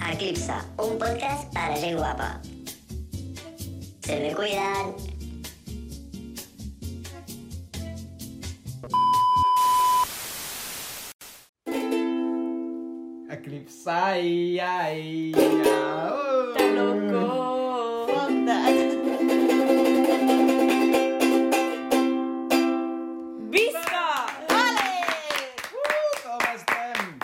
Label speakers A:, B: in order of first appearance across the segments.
A: a Clipsa, un podcast para gente guapa. Se me cuidan.
B: Eclipsai, ay, ah,
C: Está
B: oh.
C: loco. Onda. ¡Visca!
B: ¿Cómo están?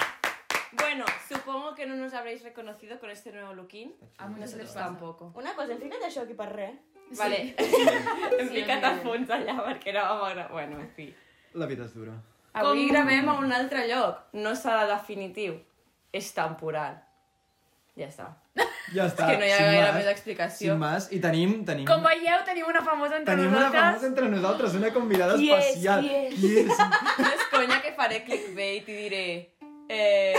C: Bueno, supongo que no nos habréis reconocido con este nuevo looking.
D: A
C: Nosotros
D: nosaltres
C: tampoco.
E: Una cosa, enfrica't això aquí per res.
C: Vale, hem
D: Sí,
C: ficat a
D: òbviament.
C: fons allà perquè no m'agrada. Bueno, en fi.
B: La vida és dura.
C: Avui gravem a un altre lloc. No serà definitiu. És temporal. Ja està.
B: Ja està.
C: que no hi ha
B: sin
C: gaire
B: más,
C: més explicació.
B: Sin más, i tenim... tenim...
D: Com veieu, tenim una famosa entre
B: Tenim una
D: nosaltres.
B: famosa entre nosaltres, una convidada
D: Qui és?
B: especial.
D: Qui és?
B: Qui és?
C: No és conya que faré clickbait i diré... Eh,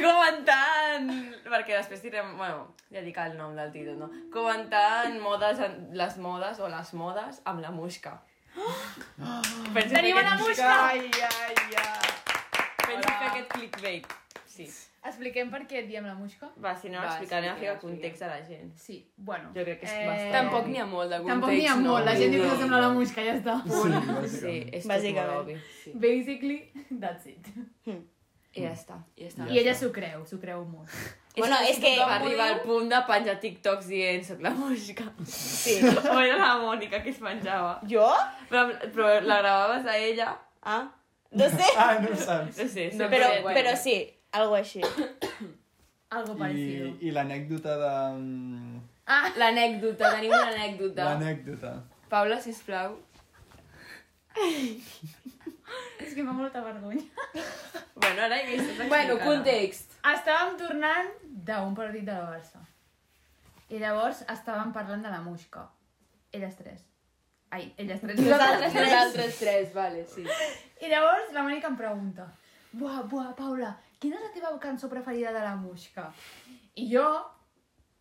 C: comentant... Perquè després direm... Bueno, ja dic el nom del títol, no? Comentant modes, en- les modes o les modes amb la musca. Penso
D: Tenim
C: fer
D: una
C: aquest-
D: musca!
B: Ai, ai, ai.
C: Penso fer aquest clickbait. Sí.
D: Expliquem per què diem la Muixca?
C: Va, si no,
E: Va,
C: explicaré a
E: expliquem,
C: ficar
E: expliquem.
C: context a la gent.
D: Sí, bueno.
C: Jo crec que és
D: Eh,
C: bastant
D: Tampoc
C: obvi.
D: n'hi
E: ha molt de
D: Tampoc n'hi ha molt, la gent diu que s'assembla a la Muixca, ja està.
B: Sí,
C: Sí,
B: bàsicament.
C: és tot molt
E: Bàsicament.
C: obvi.
D: Basically, that's it.
C: I ja està.
E: Ja està.
D: I ella s'ho creu, s'ho creu molt.
E: Bueno, és que
C: tothom arriba al punt de penjar TikToks dient soc la Mònica. Sí. o era la Mònica que es penjava.
E: Jo?
C: Però, però la gravaves a ella.
E: Ah, no sé.
B: Ah, no ho saps.
C: No sé,
E: No,
C: sempre...
E: però, però sí, algo així.
D: Algo
B: I,
D: parecido.
B: i l'anècdota de... mm,
D: Ah,
C: L'anècdota, tenim una anècdota.
B: L'anècdota.
C: Paula, sisplau.
D: és que em fa molta vergonya.
C: Bueno, ara he vist...
D: Estàvem tornant d'un partit de la Barça. I llavors estàvem parlant de la Muixca. Elles tres. Ai, elles tres. Nosaltres
C: Nosaltres tres, vale, sí.
D: I llavors la Mònica em pregunta Buah, buah, Paula, quina és la teva cançó preferida de la Muixca? I jo,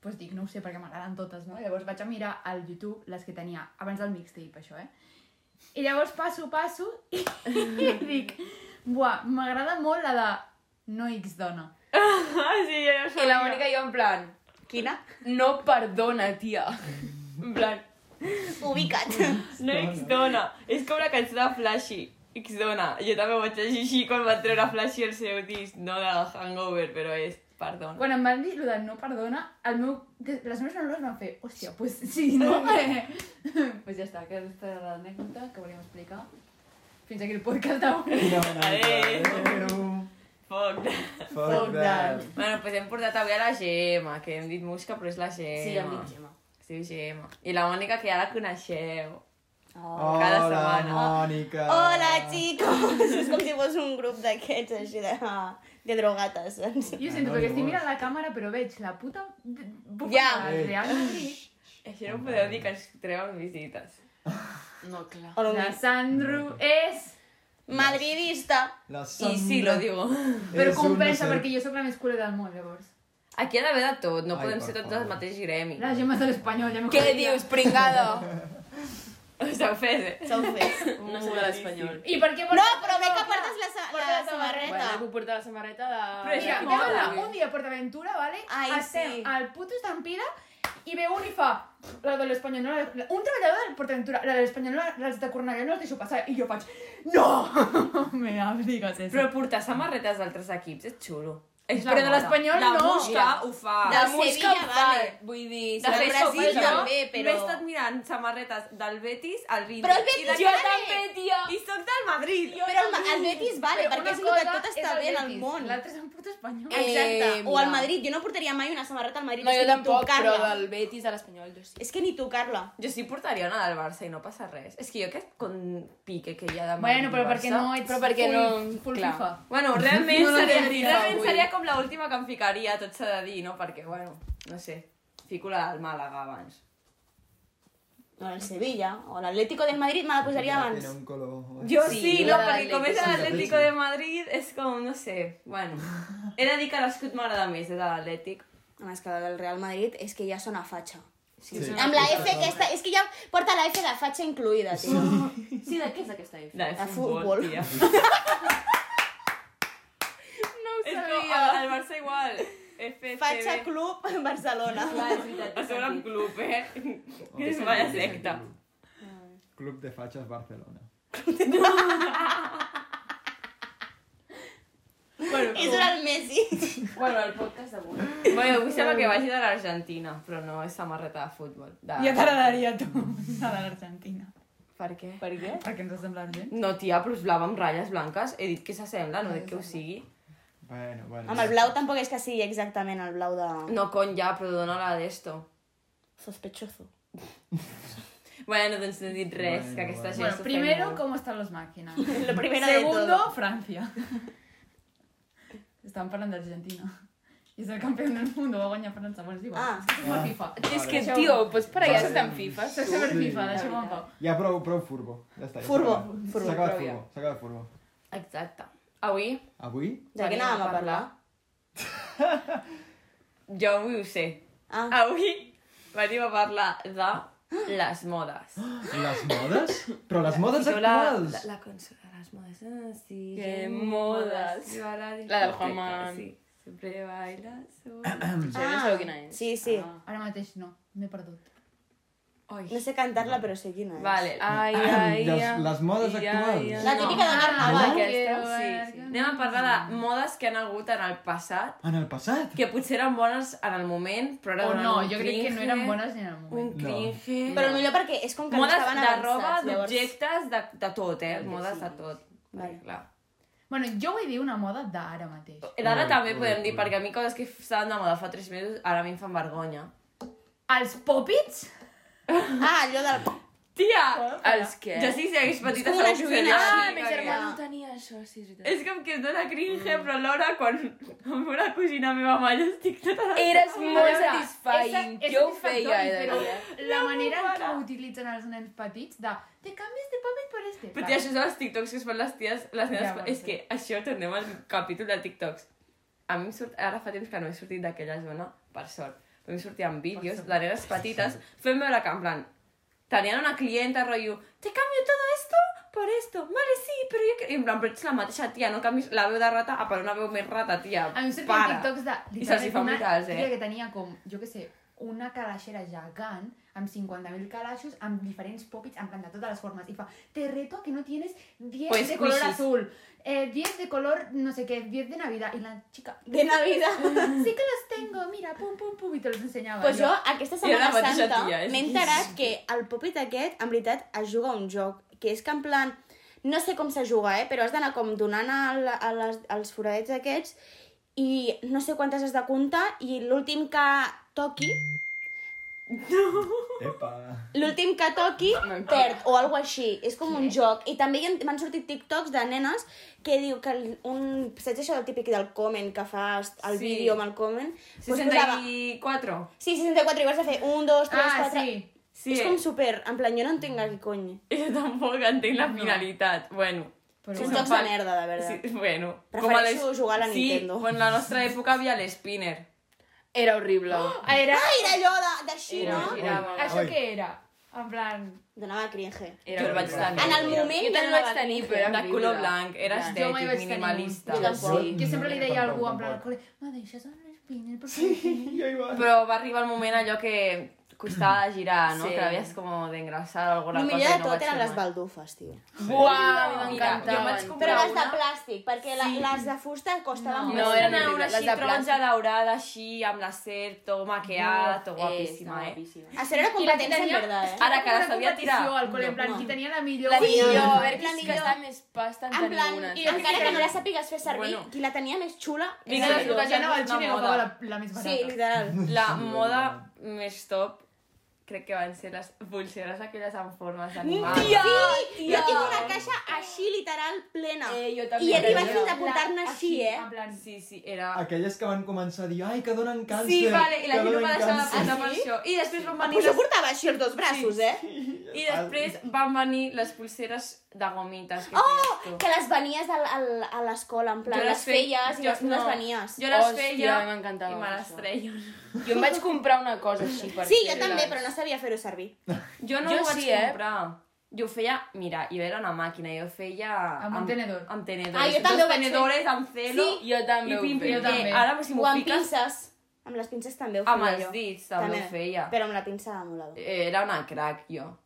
D: doncs dic, no ho sé, perquè m'agraden totes, no? Llavors vaig a mirar al YouTube les que tenia abans del mixtape, això, eh? I llavors passo, passo i, i dic, buah, m'agrada molt la de No X dona.
C: Ah, sí, ja ho sabia.
F: I la Mònica i jo en plan,
E: Quina?
F: no perdona, tia.
C: En plan,
E: Ubica't.
C: no X-Dona. És com la cançó de Flashy. X-Dona. Jo també ho vaig llegir així quan va treure Flashy el seu disc, no de Hangover, però és... Perdona.
D: Quan em van dir lo de No perdona, el meu, les meves neurones van fer, hòstia, pues sí, no? Eh, pues ja està, aquesta era l'anècdota que volíem explicar. Fins aquí el podcast d'avui.
B: Quina bona anècdota. Adéu.
C: Foc.
B: Fuck that.
C: Bueno, pues hem portat avui a la Gemma, que hem dit Musca, però és la Gemma.
F: Sí, em dic Gemma.
C: Es diu Gemma. I la Mònica, que ja la coneixeu.
B: Hola,
C: Cada setmana.
F: Ah.
B: Mònica.
E: Hola, xicos! És com si fos un grup d'aquests així de, ah, de drogates, saps?
D: Jo sento
B: no,
D: perquè
B: no.
D: estic mirant la càmera, però veig la puta... Bufada
E: Ja.
D: de Reality.
C: Això no podeu dir que ens treuen visites.
F: No, clar.
E: O lo
D: La
E: mismo.
D: Sandro és...
E: Madridista.
B: La
C: I sí, lo digo.
D: Però compensa, perquè jo sóc la més cura del món, llavors.
C: Aquí ha d'haver de tot, no
B: Ai,
C: podem
B: per
C: ser tots
B: favor.
C: del mateix gremi.
D: La Gemma és de l'Espanyol, ja m'ho
F: Què dius, pringada?
C: Us heu fet, eh?
E: Sou fets.
F: No sé de l'espanyol.
D: I per què...
E: No, però bé que portes la, sa-
D: Porta
E: la
D: la samarreta.
E: samarreta.
F: Bueno, puc portar la samarreta de...
C: Però és
D: Mira,
C: que
D: vam anar
C: mola.
D: un dia a PortAventura, vale?
E: Ai,
D: Estem
E: sí.
D: al puto estampida i ve un i fa la de l'Espanyol, no, la- un treballador de PortAventura, la de l'Espanyol, els de Cornellà no els deixo passar. I jo faig, no! Me digues eso.
C: Però portar samarretes d'altres equips és xulo. És
D: Però de l'Espanyol
C: la
D: no.
C: Musca ho fa.
E: De
F: La
E: Sevilla,
F: música em fa,
E: vale.
F: vull dir...
C: De
F: si
C: fet,
F: el
C: Brasil,
E: Brasil
C: jo
E: també, però-
C: m'he estat mirant samarretes del Betis al 20.
E: Però el Betis
C: I de-
E: jo
F: també, tia.
C: I soc del Madrid.
E: Però el, Ma- el Betis vale,
D: Però una
E: perquè és el que
D: cosa
E: tot està
D: és el
E: bé en el
D: Betis,
E: món.
D: L'altre és un puto espanyol.
F: Eh,
E: Exacte. o al
F: mira.
E: Madrid. Jo no portaria mai una samarreta al Madrid.
F: No,
E: és
F: jo
E: que ni
F: tampoc, però
E: tocar-la.
F: del Betis a l'espanyol, jo sí.
E: És que ni tocar-la.
C: Jo sí portaria una del Barça i no passa res. És que jo aquest con pique que hi ha de Madrid
D: Bueno, però
C: i
D: perquè
C: Barça-
D: no ets
F: Però perquè
D: full-
F: no-
D: full
F: clar.
D: FIFA.
C: Bueno, realment,
F: No la
C: seria,
F: tindria
C: realment
F: avui.
C: seria com l'última que em ficaria, tot s'ha de dir, no? Perquè, bueno, no sé, fico la del Màlaga abans.
E: O el Sevilla, o l'Atlético del Madrid me la posaria abans.
B: Tenia un ¿eh? color...
C: Jo
F: Sí,
C: sí, sí
F: la
C: no?
F: de
C: Perquè com és
F: l'Atlético.
C: l'Atlético de Madrid, és com, no sé, bueno. He de dir que l'escut m'agrada més, és de l'Atlètic.
E: Home, és que la del Real Madrid és que ja sona fatxa.
B: Sí. Sí.
E: Amb la F aquesta, és que ja porta la F de fatxa incluïda, tio.
F: Sí, de què és aquesta F?
C: De
E: De
C: futbol,
E: futbol.
C: tia.
F: No ho
C: és com el, el Barça igual. FCB.
E: Fatxa Club Barcelona.
C: Ah,
F: Clar, és veritat.
C: A sobre un club, eh? Que és una secta.
B: Club de Fatxes Barcelona.
F: Bueno,
E: És el Messi.
F: bueno, el podcast d'avui.
C: Bueno, avui sembla que vagi de l'Argentina, però no és samarreta de futbol. De...
D: Ja t'agradaria a tu anar a l'Argentina.
C: Per què?
F: Per què?
D: Perquè ens sembla urgent.
C: No, tia, però és blava amb ratlles blanques. He dit que s'assembla, no dic que ho sigui.
B: Bueno, bueno.
E: Amb el blau tampoc és que sigui exactament el blau de...
C: No, cony, ja, però dona la d'esto.
E: Sospechoso.
C: Bueno, doncs no he dit res,
B: Bueno,
C: que aquesta
B: bueno.
C: gent
D: Bueno,
C: s'ofèn
D: primero,
C: molt.
D: ¿cómo están las máquinas?
E: Lo primero de
D: Segundo,
E: todo.
D: Francia. Estàvem parlant d'Argentina. I és el campió del món, va guanyar França. Bueno, és igual.
E: Ah.
D: Ah. És molt FIFA.
F: És que,
D: Deixeu-ho.
F: tio, pots per allà estar en FIFA.
D: Soc super
B: Sí.
D: FIFA, deixeu-me en pau.
B: Ja prou, prou furbo. Ja està. Ja
E: Furbo,
B: s'ha acabat.
E: furbo,
B: S'ha acabat
C: prou ja.
B: furbo, s'ha acabat furbo.
C: Exacte. Avui
B: Avui?
E: De què
C: venim
E: anàvem a parlar?
C: Jo avui ho sé.
E: Ah,
C: Avui venim a parlar de les modes.
B: Les modes? Però Ah, les modes
C: Jo la,
B: actuals!
C: la, la cançó de les modes. Ah, sí,
F: Qué
C: qué
F: modas.
C: modes. Yo a La,
F: La del
C: discoteca,
F: Juanman.
C: Sí, siempre baila
F: Ja no sabeu quina és.
E: Ah. sí, sí.
D: Ara mateix no, m'he perdut.
E: No sé cantar-la, però sé quina és.
C: Vale, ai,
B: Ah,
C: ai,
B: les-
C: ai.
B: les modes actuals.
E: La típica de
D: Ah,
E: carnaval.
C: Aquesta, sí, sí. Anem a parlar de modes que han hagut en el passat,
B: Ah, En el passat?
C: que potser eren bones en el moment, però ara
D: O
C: donen
D: no,
C: un
D: jo crec que no eren
C: cringe,
D: bones ni en el moment.
C: Un cringe...
E: Però millor perquè és com que no
C: modes
E: estaven
C: de roba,
E: avançats, llavors...
C: d'objectes, de, de tot, eh? Modes de tot.
E: Vale.
C: Clar.
D: Bueno, jo vull dir una moda d'ara mateix.
C: D'ara
B: Ui,
C: també
B: ui,
C: podem dir,
B: ui.
C: perquè a mi coses que estaven de moda fa 3 mesos, ara a mi em fan vergonya.
D: Els pop-its?
E: Ah, allò del...
C: Tia!
F: Els què?
C: Ja sí, si hagués petit...
E: com una joguina.
C: Ah,
E: Sí,
C: mi
E: que
C: germà.
E: ja.
F: no tenia això, sí, és veritat.
C: És com que em dóna
D: Mm.
C: cringe, però alhora quan amb una cosina meva mai estic tota... la-
F: Eres molt
D: Veure,
F: satisfying.
D: és- és
F: Jo ho feia,
D: satisfactori,
F: eh, de
D: però
F: dia.
D: La manera en què ho utilitzen els nens petits de te canvies de paper per este.
C: Però tia, això és dels TikToks que es fan les ties, les nenes...
D: Ja, bueno,
C: és que això, tornem al capítol de TikToks. A mi em surt, ara fa temps que no he sortit d'aquella zona, per sort. Però em sortien vídeos de nenes petites fent veure que, en plan, tenien una clienta, rotllo, te cambio todo esto por esto. Vale, sí, però jo... que-" I en plan, però ets la mateixa tia, no canvis la veu de rata a per una veu més rata, tia.
D: A mi em sortien
C: Para.
D: TikToks de...
C: I se'ls hi fan
D: una
C: virals, eh?
D: tia que tenia com, jo què sé, una calaixera gegant amb 50.000 calaixos, amb diferents pòpits, en plan de totes les formes. I fa, te reto a que no tienes 10
C: Pues
D: de color
C: squishies.
D: azul, eh, 10 de color no sé qué, 10 de Navidad. I la xica,
E: De Navidad.
D: sí que los tengo, mira, pum, pum, pum, i te los ensenyava.
E: Pues jo,
D: Jo,
E: aquesta
C: Jo era
E: Setmana
C: la mateixa
E: Santa,
C: tia, és
E: m'he enterat que el popit aquest, en veritat, es juga a un joc, que és que en plan, no sé com se juga, eh, però has d'anar com donant a, la- a les, als foradets aquests i no sé quantes has de comptar i l'últim que toqui,
B: Epa!
E: l'últim que toqui perd o alguna així. És com un joc. I també hi han- m'han sortit TikToks de nenes que diu que el- un... Saps això del típic del comment que fas el
C: Sí.
E: vídeo amb el comment? Doncs posava-
C: 64.
E: Sí, 64, i vas a fer 1, 2, 3,
D: Ah,
E: 4...
D: sí.
C: Sí.
E: És com super, en plan, jo no entenc a què cony.
C: Jo tampoc entenc la finalitat. Bueno,
D: Però
E: Són
D: bueno.
E: jocs de merda, de veritat.
C: Sí, bueno.
E: Prefereixo
C: com a les-
E: jugar a la
C: sí,
E: Nintendo.
C: Sí, en la nostra època havia l'Spinner.
F: Era horrible.
D: Era,
E: Ah, era allò de- d'així,
C: Era- era-
E: no?
C: girava.
D: això
B: Oi.
D: què era? En plan...
E: Donava cringe.
F: Era
C: Jo el vaig
F: horrible.
C: tenir.
E: En el moment
F: Jo
E: ja
F: també
E: no
F: el vaig tenir, però era
C: De
F: horrible.
C: color blanc, era
F: Ja.
D: Jo mai vaig
C: estètic,
D: tenir
C: minimalista.
E: un. Jo tampoc.
B: Jo-
D: Que sempre li deia a algú, en plan,
B: tampoc.
D: col·le, mare, això són les pines, per sí.
B: Jo hi vaig.
C: Però va arribar el moment allò que costava girar, no?
F: Sí.
C: Que havies com d'engrassar alguna
E: El
C: cosa.
E: millor
C: i
E: de
C: no
E: tot
C: vaig
E: eren
C: fer
E: les
C: mai.
E: baldufes, tio.
F: Uau,
C: Mira, jo vaig
F: m'encantaven.
C: comprar
E: Però les de
C: una-
E: plàstic, perquè la, les de fusta costaven
C: No,
E: molt.
F: No,
C: eren
F: eren
C: una
F: horribles,
C: així
F: les de
C: taronja daurada, així, amb la ser, tot maquillada, tot
F: Eh,
C: guapíssima,
F: estava
C: eh?
F: guapíssima.
E: A ser era competència, en veritat,
D: Ah,
E: eh?
C: Ara que la sabia tirar.
D: Al col·le, en plan, qui tenia la millor.
F: La
E: Sí,
F: millor, a
E: sí,
F: veure
E: la
F: qui
E: millor.
F: gastava més pasta en
E: En
F: tenir
E: plan,
F: una.
E: i encara que no la sàpigues fer servir,
C: Bueno.
E: qui la tenia més xula...
C: Vinga,
E: era
C: les
E: jo.
C: dues.
D: Ja anava al xine i
C: Una moda.
D: agafava la, la més barata.
E: Sí, literal.
C: La moda més top crec que van ser les pulseres aquelles en formes d'animals.
E: Sí, jo tinc una caixa així, literal, plena.
F: Eh, jo també
E: I he arribat
F: tenia.
E: fins a portar-ne així, eh?
D: En plan,
C: Sí, sí, era...
B: Aquelles que van començar a dir ai, que donen càncer.
C: Sí, vale, i la
B: que
C: gent ho va
B: donen
C: deixar
B: càncer."
C: de portar per això. I després van venir
E: Pues jo
C: les,
E: portava així els dos braços, eh?
C: i després van venir les pulseres de gomites que
E: Oh,
C: feies tu.
E: que les venies a, a, a l'escola, en plan,
C: Jo
E: les
C: feia-
E: feies i
C: jo-
E: les, tu les venies.
C: Jo les
F: Hòstia,
C: feia
F: a mi m'encantava
C: i me les
F: això.
C: treien.
F: Jo em vaig comprar una cosa així per
E: Sí, jo
F: fer-les.
E: també, però no sabia fer-ho servir.
C: Jo no
F: Jo
C: ho vaig
F: sí, eh?
C: comprar. Jo ho feia, mira, jo era una màquina, jo ho feia...
D: Amb un tenedor.
C: Amb tenedores.
E: Ah, jo també ho
C: Dos
E: vaig fer.
C: tenedores, amb celo
F: Jo també
C: i
F: ho
C: pim, pim,
F: feia.
D: també.
C: pim. Ara, Ah, si
E: O
C: m'ho
E: amb
C: fiques,
E: pinces. Amb les pinces també ho feia
C: Amb els
E: jo.
C: dits també ho feia.
E: Però amb la pinça de molador.
C: Eh, Era una crack, jo.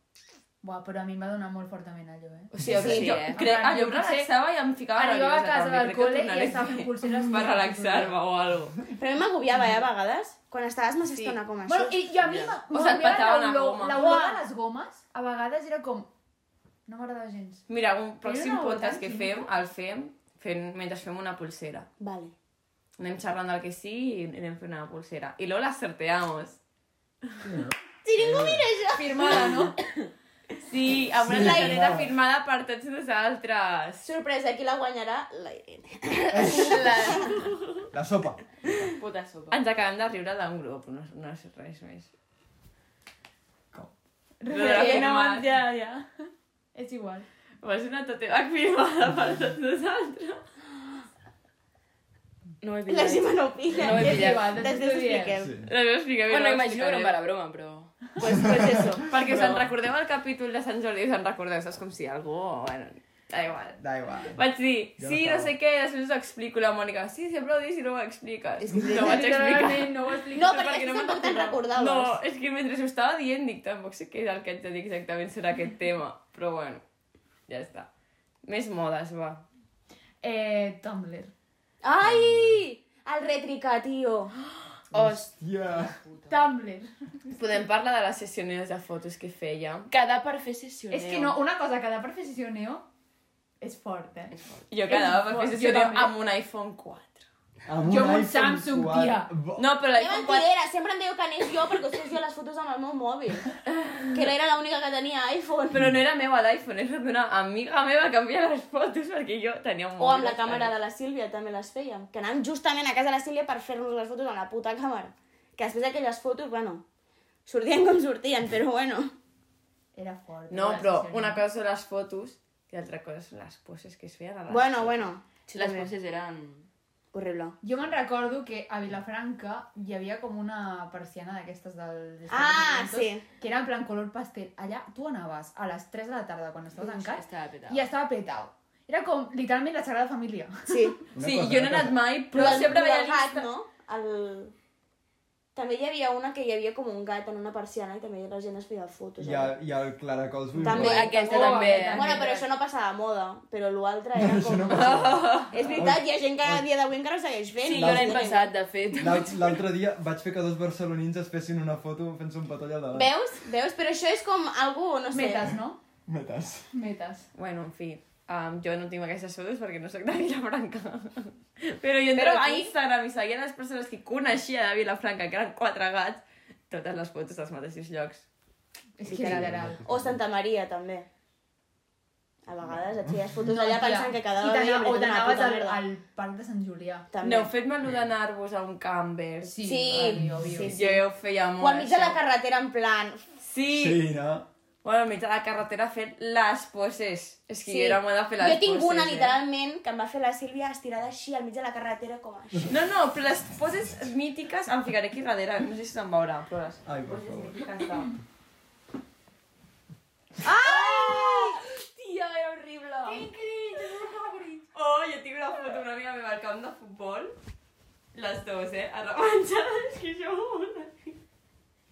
D: Buah, però a mi em va donar molt fortament allò, eh?
C: O sigui,
F: Sí,
C: sí, jo,
F: eh?
C: cre...
D: En plan,
C: allò em
D: jo no sé.
C: relaxava i em ficava
D: Arribava a
C: nerviosa.
D: casa
C: també.
D: del
C: Crec que
D: col·le i
C: tornaré a
D: estava
C: fer-
D: fent pulseres
C: Per
D: molt
C: relaxar-me o alguna cosa.
E: Però a mi m'agobiava, eh, a vegades, quan estaves massa
F: Sí.
E: estona com
D: Bueno,
E: això.
D: i jo a mi m'ha-
C: O se't
D: m'agrada
C: petava la
D: l'olor-
C: goma.
D: L'olor de
E: Uah.
D: les gomes, a vegades era com... No m'agradava gens.
C: Mira, un pròxim
D: una
C: podcast que
D: voltant
C: fem, el fem, fent, mentre fem una pulsera.
E: Vale.
C: Anem xerrant del que sí i anem fent una pulsera. I luego la sorteamos.
E: Si ningú mira això!
D: Firmada, no?
C: Sí, amb una
B: Sí,
C: targeta
B: clar.
C: firmada per tots nosaltres.
E: Sorpresa, qui la guanyarà? La Irene.
F: La
B: La sopa.
F: puta sopa.
C: Ens acabem de riure d'un grup, no, no és res més.
B: Com?
C: No la firmat.
F: ja, ja.
D: És igual.
C: Vols una teva firmada per tots nosaltres?
F: No ho he
E: La
F: pillat.
E: Gemma no ho pilla.
F: No ho he
D: És
F: pillat.
D: igual, després
E: Després
D: t'ho diem.
E: expliquem.
B: Sí.
C: No, no expliquem.
F: Bueno, imagino que no em va la broma, però...
C: Pues, pues eso. Perquè us en recordeu el capítol de Sant Jordi, us en recordeu, és com si algú... Bueno, da igual.
B: Da igual.
C: Vaig dir,
B: Jo no
C: sí, no,
B: estava.
C: sé què, després us ho explico. La Mònica, sí, sempre ho dius i no ho expliques.
E: És que
C: no ho vaig explicar.
D: Literalment, no ho explico.
E: No,
C: perquè
E: perquè
C: no
E: no
C: me'n
E: tampoc te'n recordaves.
C: No, és que mentre ho estava dient, dic, tampoc sé què és el que haig de dir exactament sobre aquest tema. Però bueno, ja està. Més modes, va.
D: Eh, Tumblr.
E: Ai! El retricà, tio.
F: Os,
B: Yeah.
D: Tumblr.
C: Podem parlar de les sessiones de fotos que fèiem.
F: quedar per fer sessioneu.
D: És que no, una cosa, cada professió neo és fort, eh?
C: Jo quedava per fer
D: jo
C: sessió
D: també.
C: amb un iPhone 4.
B: Amb
D: Jo amb un
B: iPhone
D: Samsung,
B: 4.
D: tia.
B: Bo-
C: No, però
E: Que
C: l'iPhone 4...
E: mentidera, sempre em diu que n'és jo perquè us feia les fotos amb el meu mòbil. Que no era l'única que tenia iPhone.
C: Però no era meu a l'iPhone, era d'una amiga meva que envia les fotos perquè jo tenia un
E: O amb la càmera de la Sílvia també les fèiem. Que anàvem justament a casa de la Sílvia per fer-nos les fotos amb la puta càmera. Que després d'aquelles fotos, bueno, sortien com sortien, però bueno.
D: Era fort.
C: No,
D: la
C: però
D: sessió
C: una
D: neo.
C: cosa són les fotos i l'altra cosa són les poses que es feien a les
E: Bueno, bueno.
F: Si les poses eren...
E: Horrible.
D: Jo me'n recordo que a Vilafranca hi havia com una persiana d'aquestes del... dels
E: Ah,
D: establiments,
E: sí.
D: Que era en plan color pastel. Allà tu anaves a les 3 de la tarda quan estava tancat
F: Estava petat.
D: i estava petat. Era com, literalment, la Sagrada Família.
E: Sí.
B: Una
C: Sí,
B: cosa,
C: jo no he
B: una
C: anat
B: cosa.
C: mai, però
E: el-
C: sempre veia
E: el gat,
C: l'Insta.
E: no? El... També hi havia una que hi havia com un gat en una persiana i també la gent es feia fotos. eh?
B: I, el, I el Claracols vull
E: Este També.
B: dir.
F: Aquesta
D: Oh,
F: també.
D: aquesta.
E: Bueno, però això no passava de moda, però l'altre era
B: Això
E: com...
B: no passa.
E: És veritat, hi ha gent que a dia d'avui encara ho segueix fent.
F: Sí, jo l'any passat, de fet.
B: L'alt- L'altre dia vaig fer que dos barcelonins es fessin una foto fent-se un patoll al davant.
E: Veus? Veus? Però això és com algú, no sé...
D: Metes, no?
B: Metes.
D: Metes.
C: Bueno, en fi, um, jo no tinc aquestes fotos perquè no sóc de Vilafranca. però jo
E: Però
C: entrava a
E: aquí-
C: Instagram i seguia les persones que coneixia de Vilafranca, que eren quatre gats, totes les fotos dels mateixos llocs.
D: És que literal.
E: O Santa Maria, també. A vegades et feies fotos Pues allà
D: tia.
E: pensant que
D: I
E: quedava
D: t'ana-
E: bé,
D: O
E: però una
D: t'anaves
E: puta
D: al,
E: tota merda.
D: al parc de Sant Julià.
E: També.
C: No, heu fet mal d'anar-vos a un camber.
D: Sí,
E: Sí.
D: Obvio, obvio.
E: Sí, sí.
C: Jo ho feia molt,
E: O al mig de la
C: això.
E: carretera, en plan...
C: Sí. sí.
B: Sí, no?
C: Bueno, al mig de la carretera fent les poses. És que sí. jo era molt de fer les
E: jo tinc
C: poses,
E: una,
C: eh?
E: literalment, que em va fer la Sílvia estirada així al mig de la carretera, com així.
C: No, no, però les poses mítiques em ficaré aquí darrere, no sé si se'n veurà, però les
B: Ai, per
C: poses
B: favor.
C: mítiques de...
E: Tia, era horrible.
C: Oh, jo tinc una foto una amiga meva al camp de futbol, les dues, eh, arremanjades, que jo una.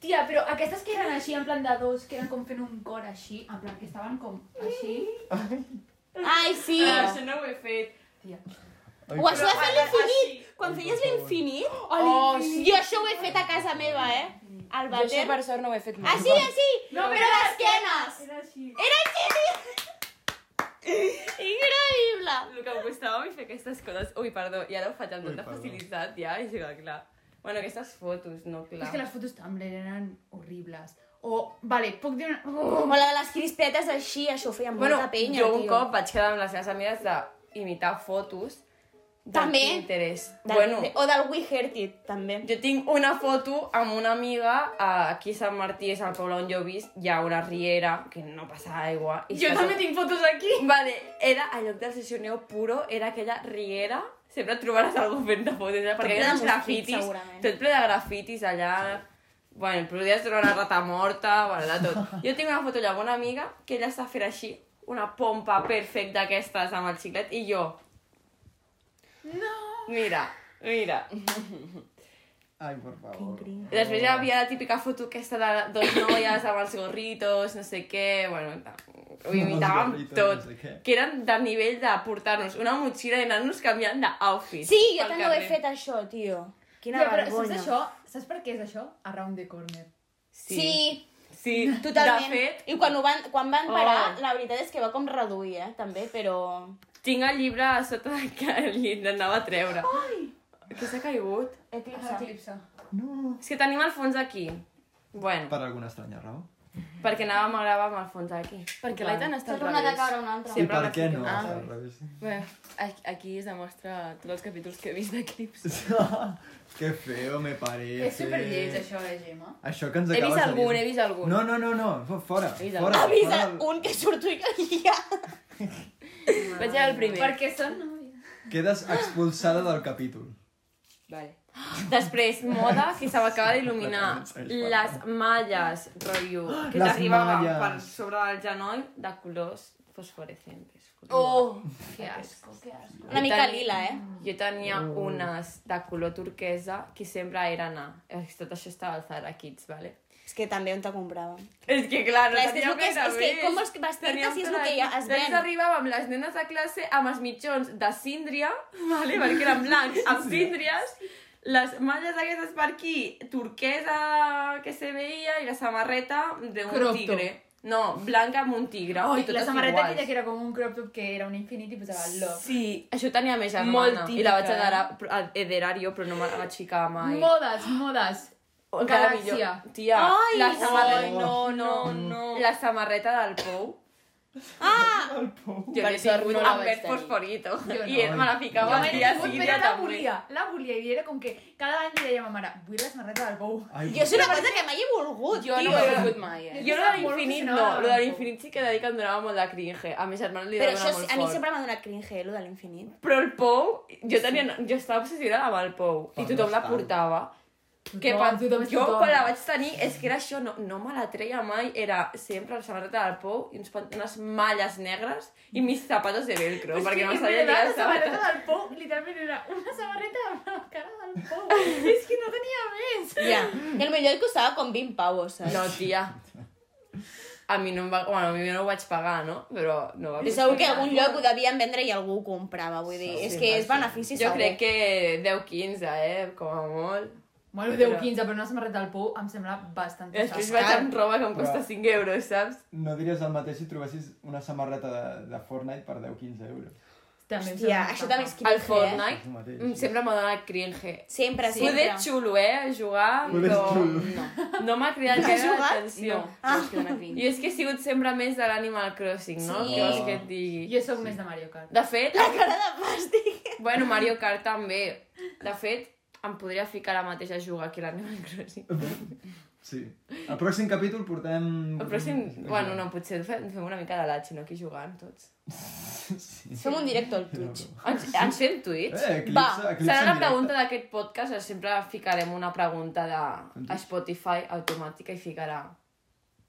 D: Tia, però aquestes que eren així, en plan de dos, que eren com fent un cor així, en plan que estaven com així...
E: Ai, sí.
C: Ah, això no ho he fet.
B: Ai,
E: Ho has de fer a l'infinit.
C: Així.
E: Quan feies l'infinit...
F: Oh, sí.
E: Jo això ho he fet a casa meva, eh? Al
F: Jo això,
E: vàter.
F: per sort, no ho he fet mai.
C: Ah,
E: Així, així! No, però d'esquenes!
D: Era així.
E: Era així! Increïble!
C: El que em costava a mi fer aquestes coses... Ui, perdó, i ara ho faig amb
B: Ui,
C: tanta
B: perdó.
C: facilitat, ja, i clar, clar. Bueno, aquestes fotos, no, clar.
D: És que les fotos Tumblr eren horribles. O, vale, puc dir una...
E: O la de les crispetes així, això ho feia amb
C: Bueno,
E: molta penya,
C: jo un
E: tio.
C: cop vaig quedar amb les meves amigues d'imitar fotos de
E: També.
C: Pinterest.
E: Del,
C: bueno,
E: de, o del We Heard It, també.
C: jo tinc una foto amb una amiga eh, aquí a Sant Martí, és el poble on jo visc, hi ha una riera, que no passa aigua. I
D: Jo també tinc fotos aquí.
C: Vale, era al lloc del sessioneu puro, era aquella riera, sempre trobaràs algú fent de fotos, eh? perquè
E: ple
C: hi ha
E: de
C: uns
E: mosquits,
C: grafitis,
E: segurament.
C: tot ple de grafitis allà, bueno, podries trobar una rata morta, bueno, de tot. Jo tinc una foto allà amb una amiga que ella està fent així, una pompa perfecta d'aquestes amb el xiclet, i jo,
D: No!
C: mira, mira.
B: Ai, por favor.
E: increïble.
C: I després hi havia la típica foto aquesta de dos noies amb els gorritos, no sé què, bueno, ho imitàvem
B: gorritos,
C: tot.
B: no sé què.
C: que eren del nivell de portar-nos una motxilla i anar-nos canviant d'outfit.
E: Sí, jo també ho he fet això, tio. Quina
D: Tio, però saps
E: vergonya.
D: això? Saps per què és això? Around the corner.
E: Sí,
C: sí,
E: totalment.
C: De fet,
E: I quan, ho van, quan van parar,
C: Oh.
E: la veritat és que va com reduir, eh, també, però...
C: tinc el llibre a sota del que el llibre anava a treure. Ai! Què s'ha caigut?
E: Eclipse.
D: Eclipse.
C: És que tenim el fons aquí. Bueno,
B: Per alguna estranya raó.
C: perquè anàvem a gravar amb el fons aquí.
F: Perquè l'Aitana està al
E: Sempre una de
F: revés.
E: caure una altra.
C: Sí.
B: I
C: Sempre
B: per
C: la
B: què
C: fiquem.
B: no?
F: Ah.
B: Al revés.
F: Bé, aquí- aquí es demostra tots els capítols que he vist d'Eclipse.
B: que feo me parece.
D: És superlleig, això, eh, Gemma?
B: Això que ens
F: He
B: acabes de
F: vist
B: dir.
F: algun, he vist algun.
B: No, no, no, no, fo- fora,
F: He vist
B: fora.
E: Avisa
B: fora.
E: un que surto jo allà.
F: Vaig veure el primer.
D: Perquè són nòvies.
B: Quedes expulsada del capítol.
F: Vale.
C: Després, moda, que se m'acaba d'il·luminar. Les malles, rotllo,
B: Ah,
C: que
B: Les
C: t'arribaven
B: malles.
C: per sobre del genoll de colors fosforescentes.
E: Oh,
D: Que asco, que asco.
E: una mica lila, eh?
C: Jo tenia
B: Oh.
C: unes de color turquesa que sempre eren a... és que Tot això estava al Zara Kids, vale?
E: És que també on te compràvem.
C: És que, clar, no
E: Clar, és que és
C: teníem
E: el que és-
C: res a
E: és que
C: més.
E: com vols que vestir-te
C: Teníem
E: si és el
C: tot
E: que
C: aquí.
E: ja es ven?
C: Després arribàvem les nenes a classe amb els mitjons de síndria, vale? perquè eren blancs, amb síndries, les malles aquestes per aquí, turquesa que se veia, i la samarreta d'un
D: Crop top.
C: tigre. No, blanca amb un tigre.
D: Ai,
C: i totes
D: la samarreta
C: iguals.
D: aquella que era com un crop top que era un infinit i posava love.
C: Sí, eh? això tenia més germana.
F: Molt
C: I la vaig
F: típica,
C: adherar, adherar jo, però no me la vaig ficar mai.
D: Modes, modes.
C: Encara
D: Galàxia.
C: millor. Tia,
E: Ai,
C: la
B: ai,
C: samarreta...
B: no,
C: no, no. La samarreta del pou.
E: Ah!
B: El pou.
C: Jo
F: Per
C: l'he
F: sort
C: tingut
F: no la
C: amb
F: vaig
C: verd
F: tenir.
C: fosforito.
D: Jo no.
C: I ell me la ficava
B: Jo
C: al
B: me
C: dia
B: l'he tingut,
D: Però
C: seguida
D: la
C: també.
D: volia, la volia, i era com que cada any li deia a ma mare, vull la samarreta del bou.
B: Ai,
E: Jo és una cosa que mai he volgut,
F: Jo no
E: tio.
F: m'ho he volgut mai, eh?
C: Jo lo de
D: Molt
C: l'infinit no,
D: aficionada
C: lo de
D: al
C: l'infinit sí que deia que em donava molt de cringe. A mi germana li
E: Però
C: donava
E: això
C: molt
E: és- a mi
C: fort.
E: sempre m'ha donat cringe, lo de l'infinit.
C: Però el pou, jo, tenia, jo estava obsessionada amb el pou i
B: Però
C: tothom
B: no
C: la
B: està.
C: portava. Que
D: Tothom,
C: quan,
D: tothom és
C: jo
D: tothom.
C: quan la vaig tenir, és que era això, no, no me la treia mai, era sempre la samarreta del pou i uns pant- unes malles negres i mis zapatos de velcro, perquè no
D: en
C: sabia
D: veritat,
C: tirar
D: la
C: les
D: samarreta
C: sabates.
D: del pou, literalment era una samarreta amb la cara del pou. És que no tenia més.
E: Ja. I el millor que costava com 20 pavos, saps?
C: No, tia. A mi no em va... Bueno, a mi no ho vaig pagar, no? Però no va
E: I segur que a algun lloc ho devien vendre i algú ho comprava, vull dir, és que és benefici
C: Jo
E: segur.
C: crec que 10-15, eh? Com a molt.
D: Bueno, 10 15, però una samarreta del pou em sembla bastant
C: I després vaig amb roba que em costa 5 euros, saps?
B: No diries el mateix si trobessis una samarreta de, de Fortnite per 10-15 euros.
D: També em
E: Hòstia,
D: sembla
E: això
D: bastant.
E: també
C: Al
E: és cringe,
B: És
E: eh?
B: el
C: Fortnite
B: mateix.
C: em sempre m'ha donat cringe.
E: Sempre,
C: Sí. Poder
E: sempre.
C: xulo, eh? Jugar,
B: Poder
C: però
B: xulo.
C: no, no m'ha cridat
E: Has
C: gaire
E: jugat?
C: l'atenció.
F: No, no és que dona cringe.
C: Jo és que he sigut sempre més de l'Animal Crossing, no?
E: Sí.
C: Què vols que et digui?
D: Jo sóc més de Mario Kart.
C: De fet,
E: La cara de plàstic.
C: bueno, Mario Kart també. De fet, em podria ficar la mateixa a jugar aquí a l'Animal Crossing.
B: Sí. El pròxim capítol portem...
C: El pròxim... Bueno, no, potser fem, fem una mica de latxi, no? Aquí jugant tots.
B: Sí.
E: Fem un directe al Twitch.
C: Ens, ens fem tuits?
B: Ah, Eh, eclipse,
E: Va,
B: eclipse en
C: Serà la
B: directe.
C: pregunta d'aquest podcast, eh, sempre ficarem una pregunta de a Spotify automàtica i ficarà...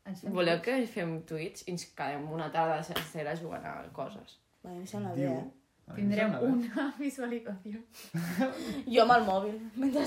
D: Ens fem-
C: Voleu que fem tuits i ens quedem una tarda sencera jugant a coses?
E: Va, em sembla bé,
B: Diu.
E: eh?
B: Ah,
D: Tindrem
B: em sembla bé.
D: una visualització.
E: Jo amb el mòbil. Mentre...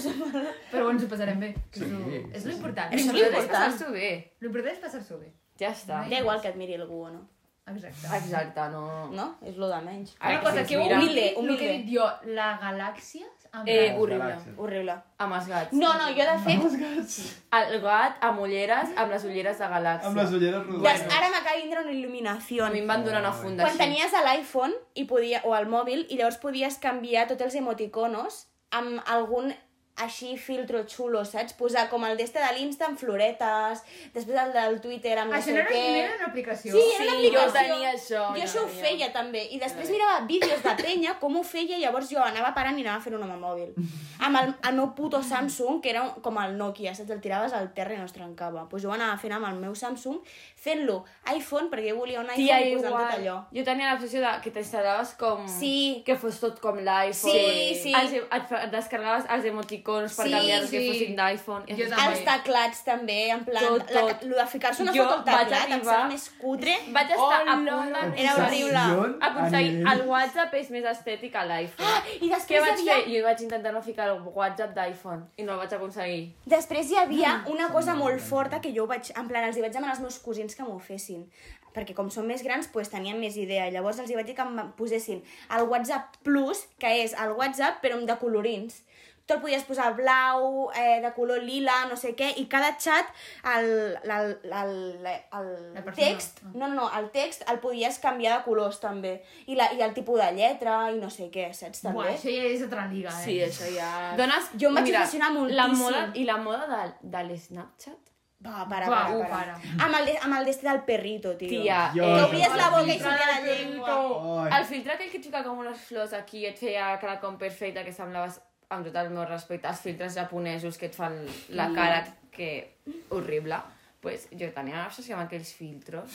D: Però ens ho passarem bé. que
B: Sí,
D: és lo- és
B: sí,
D: lo
B: sí.
D: important.
E: Això és
C: L'important és
E: important.
C: passar-s'ho bé.
D: Lo important és passar-s'ho bé.
C: Ja està.
E: Da igual que et miri algú o no.
D: Exacte.
C: Exacte, no...
E: No? És lo de menys.
C: Ai,
D: Una cosa
C: sí,
D: que
C: mira.
D: humile,
E: Humile,
D: humile. El que he
E: humile.
D: dit jo, la galàxia... amb
F: Eh,
D: la-
B: Les
F: horrible.
B: galàxies.
E: Horrible.
C: Amb els gats.
E: No, no, jo de fet...
B: Els gats.
C: El gat amb ulleres, amb les ulleres de galàxia.
B: Amb les ulleres
E: Des,
B: rodones.
E: ara m'acaba de vindre una
C: A
E: il·luminació.
C: mi em van donar una funda
E: Quan
C: així.
E: tenies a l'iPhone i podia, o al mòbil i llavors podies canviar tots els emoticonos amb algun així filtro xulo, saps? Posar com el d'este de l'Insta amb floretes, després el del Twitter amb
D: Això
E: no
D: no era,
E: sé què...
D: no era una aplicació.
E: Sí, era una
F: Sí, jo
E: aplicació.
F: tenia això,
E: Jo
F: ja,
E: això ho
F: ja.
E: feia també. I després mirava vídeos de penya, com ho feia, i llavors jo anava parant i anava fent un amb el mòbil. Amb el, el meu puto Samsung, que era un- com el Nokia, saps? El tiraves al terra i no es trencava. Doncs pues jo ho anava fent amb el meu Samsung, fent-lo iPhone, perquè jo volia un iPhone
C: Tia,
E: i posant tot
C: igual.
E: allò.
C: Jo tenia l'obsessió de que t'instal·laves com...
E: Sí.
C: Que fos tot com l'iPhone.
E: Sí, sí.
C: Els, et, fa- et descarregaves els icons per
E: Sí,
C: canviar els que
D: sí.
C: fossin d'iPhone. i
D: Jo
C: així.
D: també.
E: Els teclats també, en plan...
C: Tot,
E: la-
C: tot.
E: lo de ficar-se una
C: Jo
E: foto al
C: vaig
E: teclat em
C: arribar-
E: sembla més cutre.
C: Vaig estar
E: Oh,
F: Hola.
C: a punt de-
E: Era horrible.
C: aconseguir
B: a
C: el
B: nivell.
C: WhatsApp és més estètic a l'iPhone.
E: Ah, i després
C: Què vaig
E: hi
C: fer?
E: havia-
C: Jo vaig intentar no ficar el WhatsApp d'iPhone i no el vaig aconseguir.
E: Després hi
D: Ah,
E: havia una cosa molt forta que jo vaig... En plan, els hi vaig demanar als meus cosins que m'ho fessin. Perquè com són més grans, pues, tenien més idea. Llavors els hi vaig dir que em posessin el WhatsApp Plus, que és el WhatsApp però amb de colorins. Tu el podies posar blau, eh, de color lila, no sé què, i cada xat el, el, el, el,
D: La
E: el
D: persona. ah.
E: text... No, no, no, el text el podies canviar de colors també. I, la, i el tipus de lletra i no sé què, saps? També.
D: Buah, això ja és altra liga, eh?
F: Sí, això ja...
C: Dones,
E: Jo em vaig obsessionar
C: La
E: moltíssim.
C: moda, I la moda de, de l'Snapchat?
E: Va, para,
D: Va,
E: para,
D: uh,
E: para. Amb el, de, amb el d'este del perrito, tio.
C: Tia,
B: Jo-
E: Que
B: Ai,
E: obries la
D: no.
E: boca i sortia la
D: Ai,
E: llengua.
B: Ai.
C: el filtre aquell que et fica com unes flors aquí i et feia cara com perfecta que semblaves, amb tot el meu respecte, els filtres japonesos que et fan la cara que... horrible. Pues jo tenia una obsessió amb aquells filtros.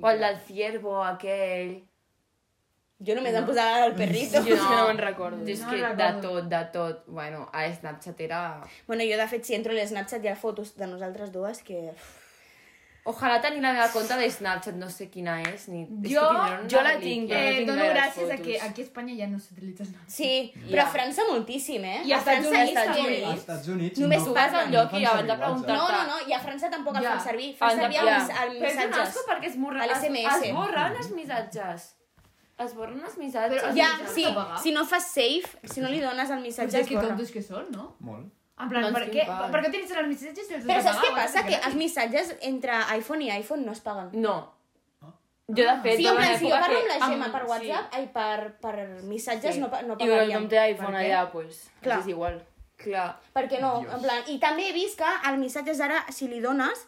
C: O el del ciervo aquell.
E: Jo només em posava el perrito.
F: Jo és que no me'n recordo.
C: És
D: No
C: que de
D: recordo.
C: tot, de tot. Bueno, a Snapchat era...
E: Bueno, jo de fet si entro a l'Snapchat hi ha fotos de nosaltres dues que...
C: Ojalà tenir la meva compte de Snapchat, no sé quina és, ni... és
F: Jo-
C: que tindran una
F: jo la
C: relíquia.
F: tinc,
D: Eh,
F: no tinc
D: dono
F: gaires
D: gràcies a
F: fotos.
D: que aquí a Espanya ja no s'utilitza Snapchat.
E: Sí, però a
C: Ja.
E: França moltíssim, eh?
D: I a Estats
E: França
D: Units,
E: és
D: també.
E: que-
B: Als Estats Units
E: Només
B: no
C: Tu vas al
B: fan-
C: lloc
B: fan
C: i abans de
B: servir WhatsApp.
C: preguntar-te...
E: No, no, no, i a França tampoc el
D: Ja.
E: fan servir. Fan
C: Anda,
E: servir
C: ja.
E: els, els
C: Però és un
E: missatges.
C: asco perquè es borra...
E: A
D: Ah,
C: Es,
E: l'SMS.
C: es borren els missatges. Es borren els missatges.
D: Però-
E: Ja,
D: Has
E: sí,
D: de pagar?
E: si no fas safe, si no li dones el
D: Saps
E: missatge
D: ja
E: es
D: que
E: borra.
D: tontos que són, no?
B: Molt.
D: En plan,
F: Doncs
D: per,
F: quin
D: què,
F: pal.
D: per què utilitzen els missatges si els has
E: Però
D: de
E: saps què
D: pagar?
E: passa? Que
D: Bueno,
E: els missatges entre iPhone i iPhone no es paguen.
C: No. Jo, de fet,
E: Ah. Sí, en
C: durant
E: plan, si jo
C: l'època
E: parlo
C: que-
E: amb la Gemma per
C: sí.
E: WhatsApp, ai, per, per missatges
C: Sí.
E: no, pa- no
F: I el nom
E: pagaríem.
F: té iPhone
D: Per què?
F: allà, doncs,
E: Clar.
F: és igual.
C: Clar.
E: Per què no?
B: Dios.
E: En plan, I també he vist que el missatges ara, si li dones,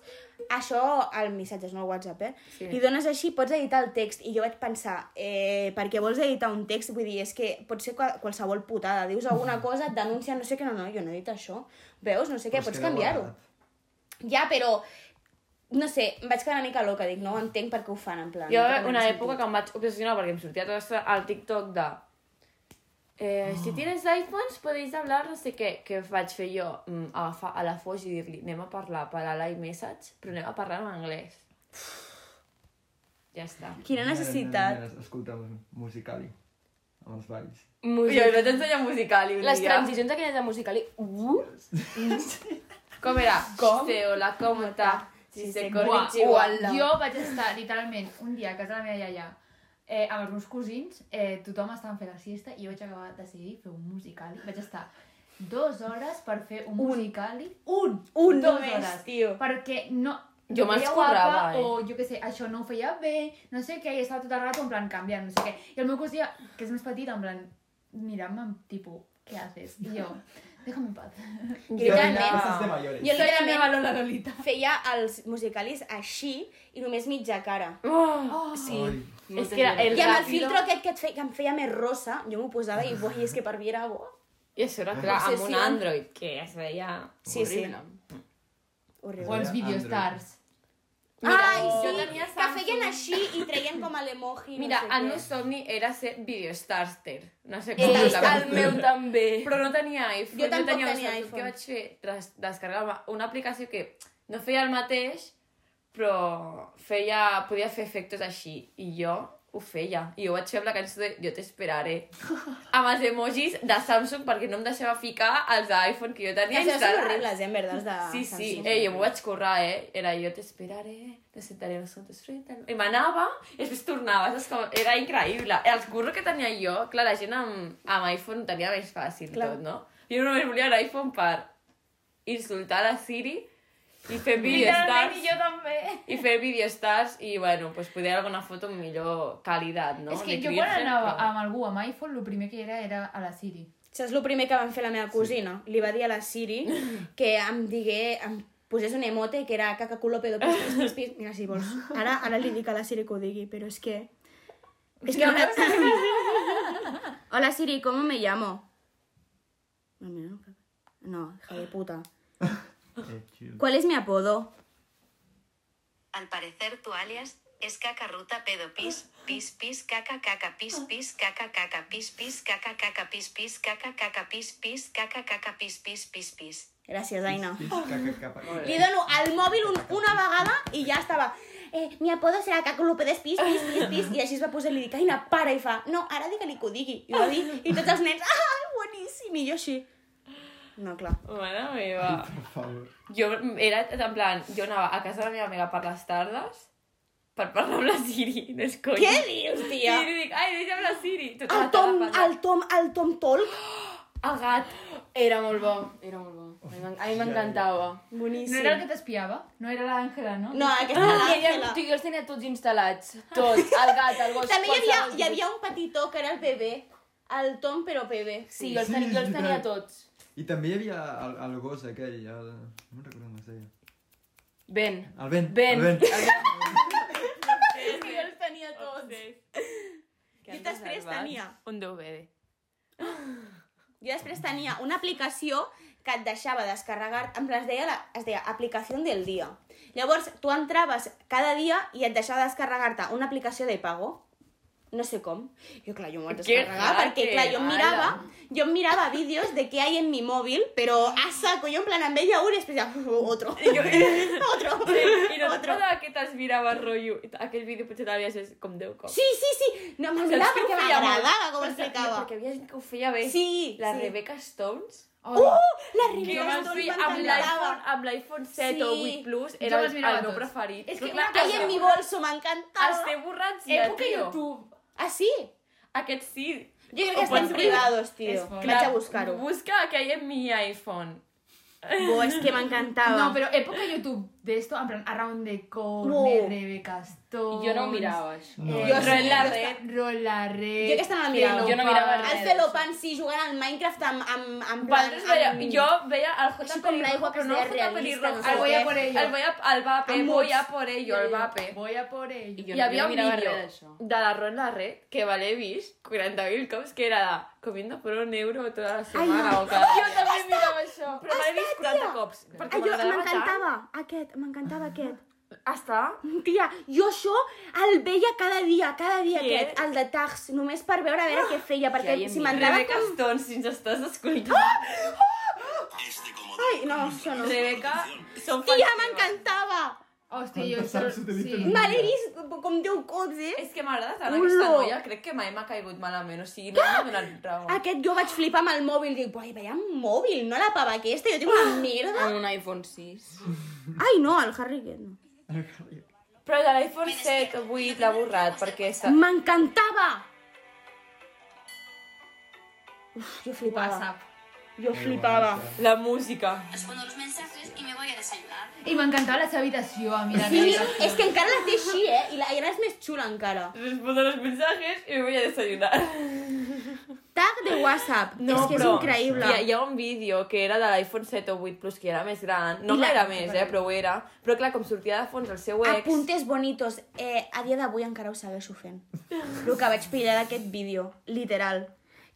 E: això, el missatge, no el WhatsApp, eh?
C: Sí.
E: Li dones així, pots editar el text. I jo vaig pensar, eh, per què vols editar un text? Vull dir, és que pot ser qual- qualsevol putada. Dius alguna cosa, et denuncia, no sé què, no, no, jo no he dit això. Veus, no sé què,
B: Però es
E: pots
B: queda
E: canviar-ho.
B: guardat.
E: Ja, però, no sé, em vaig quedar una mica loca, dic, no entenc per què ho fan, en plan.
C: Jo
E: no té
C: una
E: gaire
C: època
E: sentit.
C: que em vaig obsessionar perquè em sortia tot això al TikTok de... Eh,
E: Ah.
C: si tienes iPhones podéis hablar no sé què, que vaig fer jo mm, agafar a la Foix i dir-li anem a parlar per a l'iMessage, però anem a parlar en anglès. Ja està.
E: Quina necessitat.
B: Nenes, nenes, Escolta'm, musicali, amb els balls.
C: Jo vaig ensenyar musical i un
F: Les
C: dia.
F: transicions aquelles de musical i... Uh,
C: Com era? Com? Seo la comota. Si se corre
D: Uah,
C: igual.
D: uala. Jo vaig estar, literalment, un dia a casa de la meva iaia, eh, amb els meus cosins, eh, tothom estava fent la siesta i jo vaig acabar de decidir fer un musical. Vaig estar dues hores per fer un, un. musical. Un!
E: Un
D: dues
E: només,
D: hores.
E: tio.
D: Perquè no...
C: Jo
D: no
C: me'ls
D: feia
C: currava,
D: guapa,
C: eh.
D: O jo què sé, això no ho feia bé, no sé què, i estava tot el rato en plan canviant, no sé què. I el meu cosí, que és més petit, en plan mirant-me amb tipus, què haces? I jo, déjame en paz.
E: Jo, literalment,
B: Cosas de mayores.
E: jo literalment
D: valor la Lolita.
E: feia els musicalis així i només mitja cara.
C: Oh, sí.
B: Ai.
C: És que era el
E: I amb el
C: ràpid.
E: filtro aquest que, et feia, que em feia més rosa, jo m'ho posava i, buah, i és que per mi era bo.
C: I això era clar, amb un
E: Obsessió.
C: Android, que es veia
E: Sí, sí.
C: horrible.
E: Horrible.
D: O els videostars.
E: Ai, sí,
C: jo tenia
E: que
C: Samsung.
E: feien així i treien com a l'emoji.
C: Mira,
E: no sé
C: el
E: què.
C: meu somni era ser videostarster. No sé com
E: Eh,
C: eh,
E: el
C: el meu també. Però no tenia iPhone.
E: Jo tampoc
C: tenia, un
E: tenia
C: Samsung.
E: iPhone.
C: Què vaig fer? Tras- Descarregar-me una aplicació que no feia el mateix, però feia, podia fer efectes així. I jo ho feia. I ho vaig fer amb la cançó de Jo t'esperaré. amb els emojis de Samsung perquè no em deixava ficar els d'iPhone que jo tenia
E: Que això són
C: instal·lats.
E: horribles, eh, en verdad, els de
D: Ah,
C: Sí, sí,
E: Samsung.
C: eh, jo m'ho vaig currar, eh? Era jo t'esperaré, te sentaré a les altres fruites... I m'anava i després tornava, saps com? Era increïble. El curro que tenia jo, clar, la gent amb, amb iPhone ho tenia més fàcil clar.
E: Clar.
C: tot, no? Jo només volia l'iPhone per insultar la Siri i fer
D: Literalment, i
C: videostars
D: jo també.
C: i fer videostars i, bueno, pues, poder alguna foto amb millor qualitat, no?
D: No, és que
C: De
D: jo quan
C: virgen,
D: anava
C: però-
D: amb algú amb iPhone, el primer que era era a la Siri.
E: Saps el primer que van fer la meva cosina? Li va dir a la Siri que em digué... Em posés un emote que era caca culo pedo pis, pis, pis, pis. Mira, si vols. Ara, ara li dic a la Siri que ho digui, però és que... És que... Hola, hola Siri, ¿cómo me llamo? No, mira, no, no, hija de puta.
B: Eh, chill.
E: ¿Cuál es mi apodo?
G: Al parecer tu alias És caca ruta pedo pis, pis pis caca caca pis pis caca caca pis pis caca caca pis pis caca caca pis pis caca caca pis pis pis pis.
E: Gràcies, Aina.
B: Pis, caca, capa.
E: Li dono el mòbil un, una vegada i ja estava. Eh, mi apodo serà Caco López pis, pis, pis, pis. I així es va pues, posar i li dic, Aina, para, i fa, no, ara digue-li que ho digui. I ho va dir, i tots els nens, ah, boníssim, i jo així. No, clar.
C: Mare meva.
B: Per favor.
C: Jo era, en plan, jo anava a casa de la meva amiga per les tardes per parlar amb la Siri, no és coi.
E: Què dius,
C: I
E: tia?
C: li dic, ai, deixa'm la Siri. Tota
E: El
C: la
E: Tom,
C: tarda parlant.
E: el Tom, el Tom Talk.
C: El gat.
F: Era molt bo, era molt bo. A mi m'en- A mi m'encantava.
D: No
E: Boníssim.
D: era el que t'espiava? No era l'Àngela, no?
E: No, aquesta era
F: Ah, ella,
E: l'Àngela.
F: tu, jo els tenia tots instal·lats. Tots. El gat, el gos,
E: També hi havia,
F: qualsevol.
E: hi havia un petitó que era el bebè. El Tom, però bebè.
F: Sí, jo els tenia, jo els tenia tots.
B: I també hi havia el, el gos aquell, el... No me'n recordo com es deia.
F: Ben.
B: El Ben.
F: Ben.
B: El ben.
E: Sí, jo els tenia tots. I després tenia...
C: Un DVD.
E: Jo després tenia una aplicació que et deixava descarregar, en plan es deia, la, es deia aplicació del dia. Llavors, tu entraves cada dia i et deixava descarregar-te una aplicació de pago. No sé com. Jo, clar, jo m'ho vaig
C: Que
E: descarregar
C: hacker,
E: perquè, clar, jo em mirava, jo em mirava vídeos de què hay en mi móvil, però a saco, jo en plan em veia un i després ja, otro, otro,
C: I no et
E: otro.
C: passava que te'ls mirava rotllo. Aquell vídeo potser t'havies vist com 10 cops.
E: Sí, sí, sí, no, me'l mirava
C: que ho
E: perquè
C: feia molt.
E: m'agradava com ho
C: Perquè-
E: explicava.
C: Perquè havia gent que ho feia bé.
E: Sí,
C: La
E: sí.
C: Rebecca Stones.
D: Oh,
E: Uh, la
C: Que
E: Rivera
C: van
E: Stones
C: fer amb
E: m'encantava.
C: l'iPhone amb l'iPhone 7 o
E: Sí.
C: 8 Plus
D: Jo
C: era el,
D: les
C: el
D: mirava
C: meu
D: tots.
C: preferit.
D: És que
C: Clar,
D: una
E: Ai, en mi bolso, m'encantava.
C: Els té borrats ja,
D: època
C: tio.
D: YouTube.
E: Ah, sí?
C: Aquests sí.
E: Jo crec
C: Ho
E: que estan
C: pots dir.
E: privados, tio.
D: És fort.
E: Vaig a buscar-ho.
C: Busca que hi ha en mi iPhone.
E: Bo, és que m'encantava.
D: No, però època YouTube d'esto, en plan, Around the Corner,
E: Ah. Wow.
D: Rebecca Stones...
F: Jo
C: Doncs-
F: no ho mirava, això.
B: No,
E: Jo
B: era-
E: sé.
C: Rol la
E: jo
C: red.
D: Rola Red...
E: Jo aquesta no la mirava.
F: Jo no mirava
E: El
F: res.
E: Celopan, sí, jugant al Minecraft amb... amb, amb plan, Ah,
C: Valtres veia,
E: amb...
C: jo veia el J
E: Així com l'aigua
C: pelirrojo,
E: que
C: però no
E: es
C: el
E: veia
C: J
E: realista,
C: pelirrojo.
E: no sé
C: El
E: què.
C: voy a por ello. El voy a, el vape,
E: Amb
C: voy a
E: mots.
C: por ello, el vape.
D: Voy a por ello.
F: Jo
C: Hi havia
F: no
C: un
F: mirava
C: vídeo
F: res d'això.
C: de la Ron la Red que me l'he vist 40.000 cops que era de comiendo por un euro toda la setmana
E: no.
C: o cada... Jo també mirava això, però me l'he
E: Està,
C: vist 40
E: tia.
C: cops. Perquè
E: Ah, jo
C: m'agradava tant.
E: m'encantava aquest, m'encantava aquest.
C: Està?
E: Tia, jo això el veia cada dia, cada dia
C: Qui
E: aquest, el de tags, només per veure a veure què feia, perquè
F: hi ha
E: si
F: mi.
E: m'entrava... Ah!
C: Rebeca Stone, si ens estàs escoltant.
E: Ai, no, això no.
C: Rebeca, som fans
E: Tia,
C: teves.
E: m'encantava!
D: Hòstia, jo...
B: Quantes apps utilitzen?
D: Sí.
E: Me l'he vist com deu cops, eh?
C: És que m'agrada tant
E: Olo.
C: aquesta noia, crec que mai m'ha caigut malament, o sigui, no m'ha donat raó.
E: Aquest jo vaig flipar amb el mòbil, dic, uai, veia un mòbil, no la pava aquesta, jo tinc una merda.
F: Amb un iPhone 6.
E: Ah. Ai, no, el Harry aquest no.
C: Però de l'iPhone 7 o 8 l'ha borrat, perquè està...
E: M'encantava! Uf, jo flipava.
D: WhatsApp.
E: Jo flipava.
C: La música.
G: Respondo los mensajes y me voy a desayunar.
D: I m'encantava la seva habitació, a mirar
E: Sí, és que encara la té així, eh? I la i ara és més xula encara.
C: Respondo los mensajes y me voy a desayunar.
E: Tag de WhatsApp. No, és que és
C: però Hi
E: increïble.
C: ha, hi ha un vídeo que era de l'iPhone 7 o 8 Plus, que era més gran. No
E: I la-
C: la... era més, eh, però ho era. Però clar, com sortia de fons el seu ex...
E: Apuntes bonitos. Eh, a dia d'avui encara ho segueixo fent. El que vaig pillar d'aquest vídeo, literal.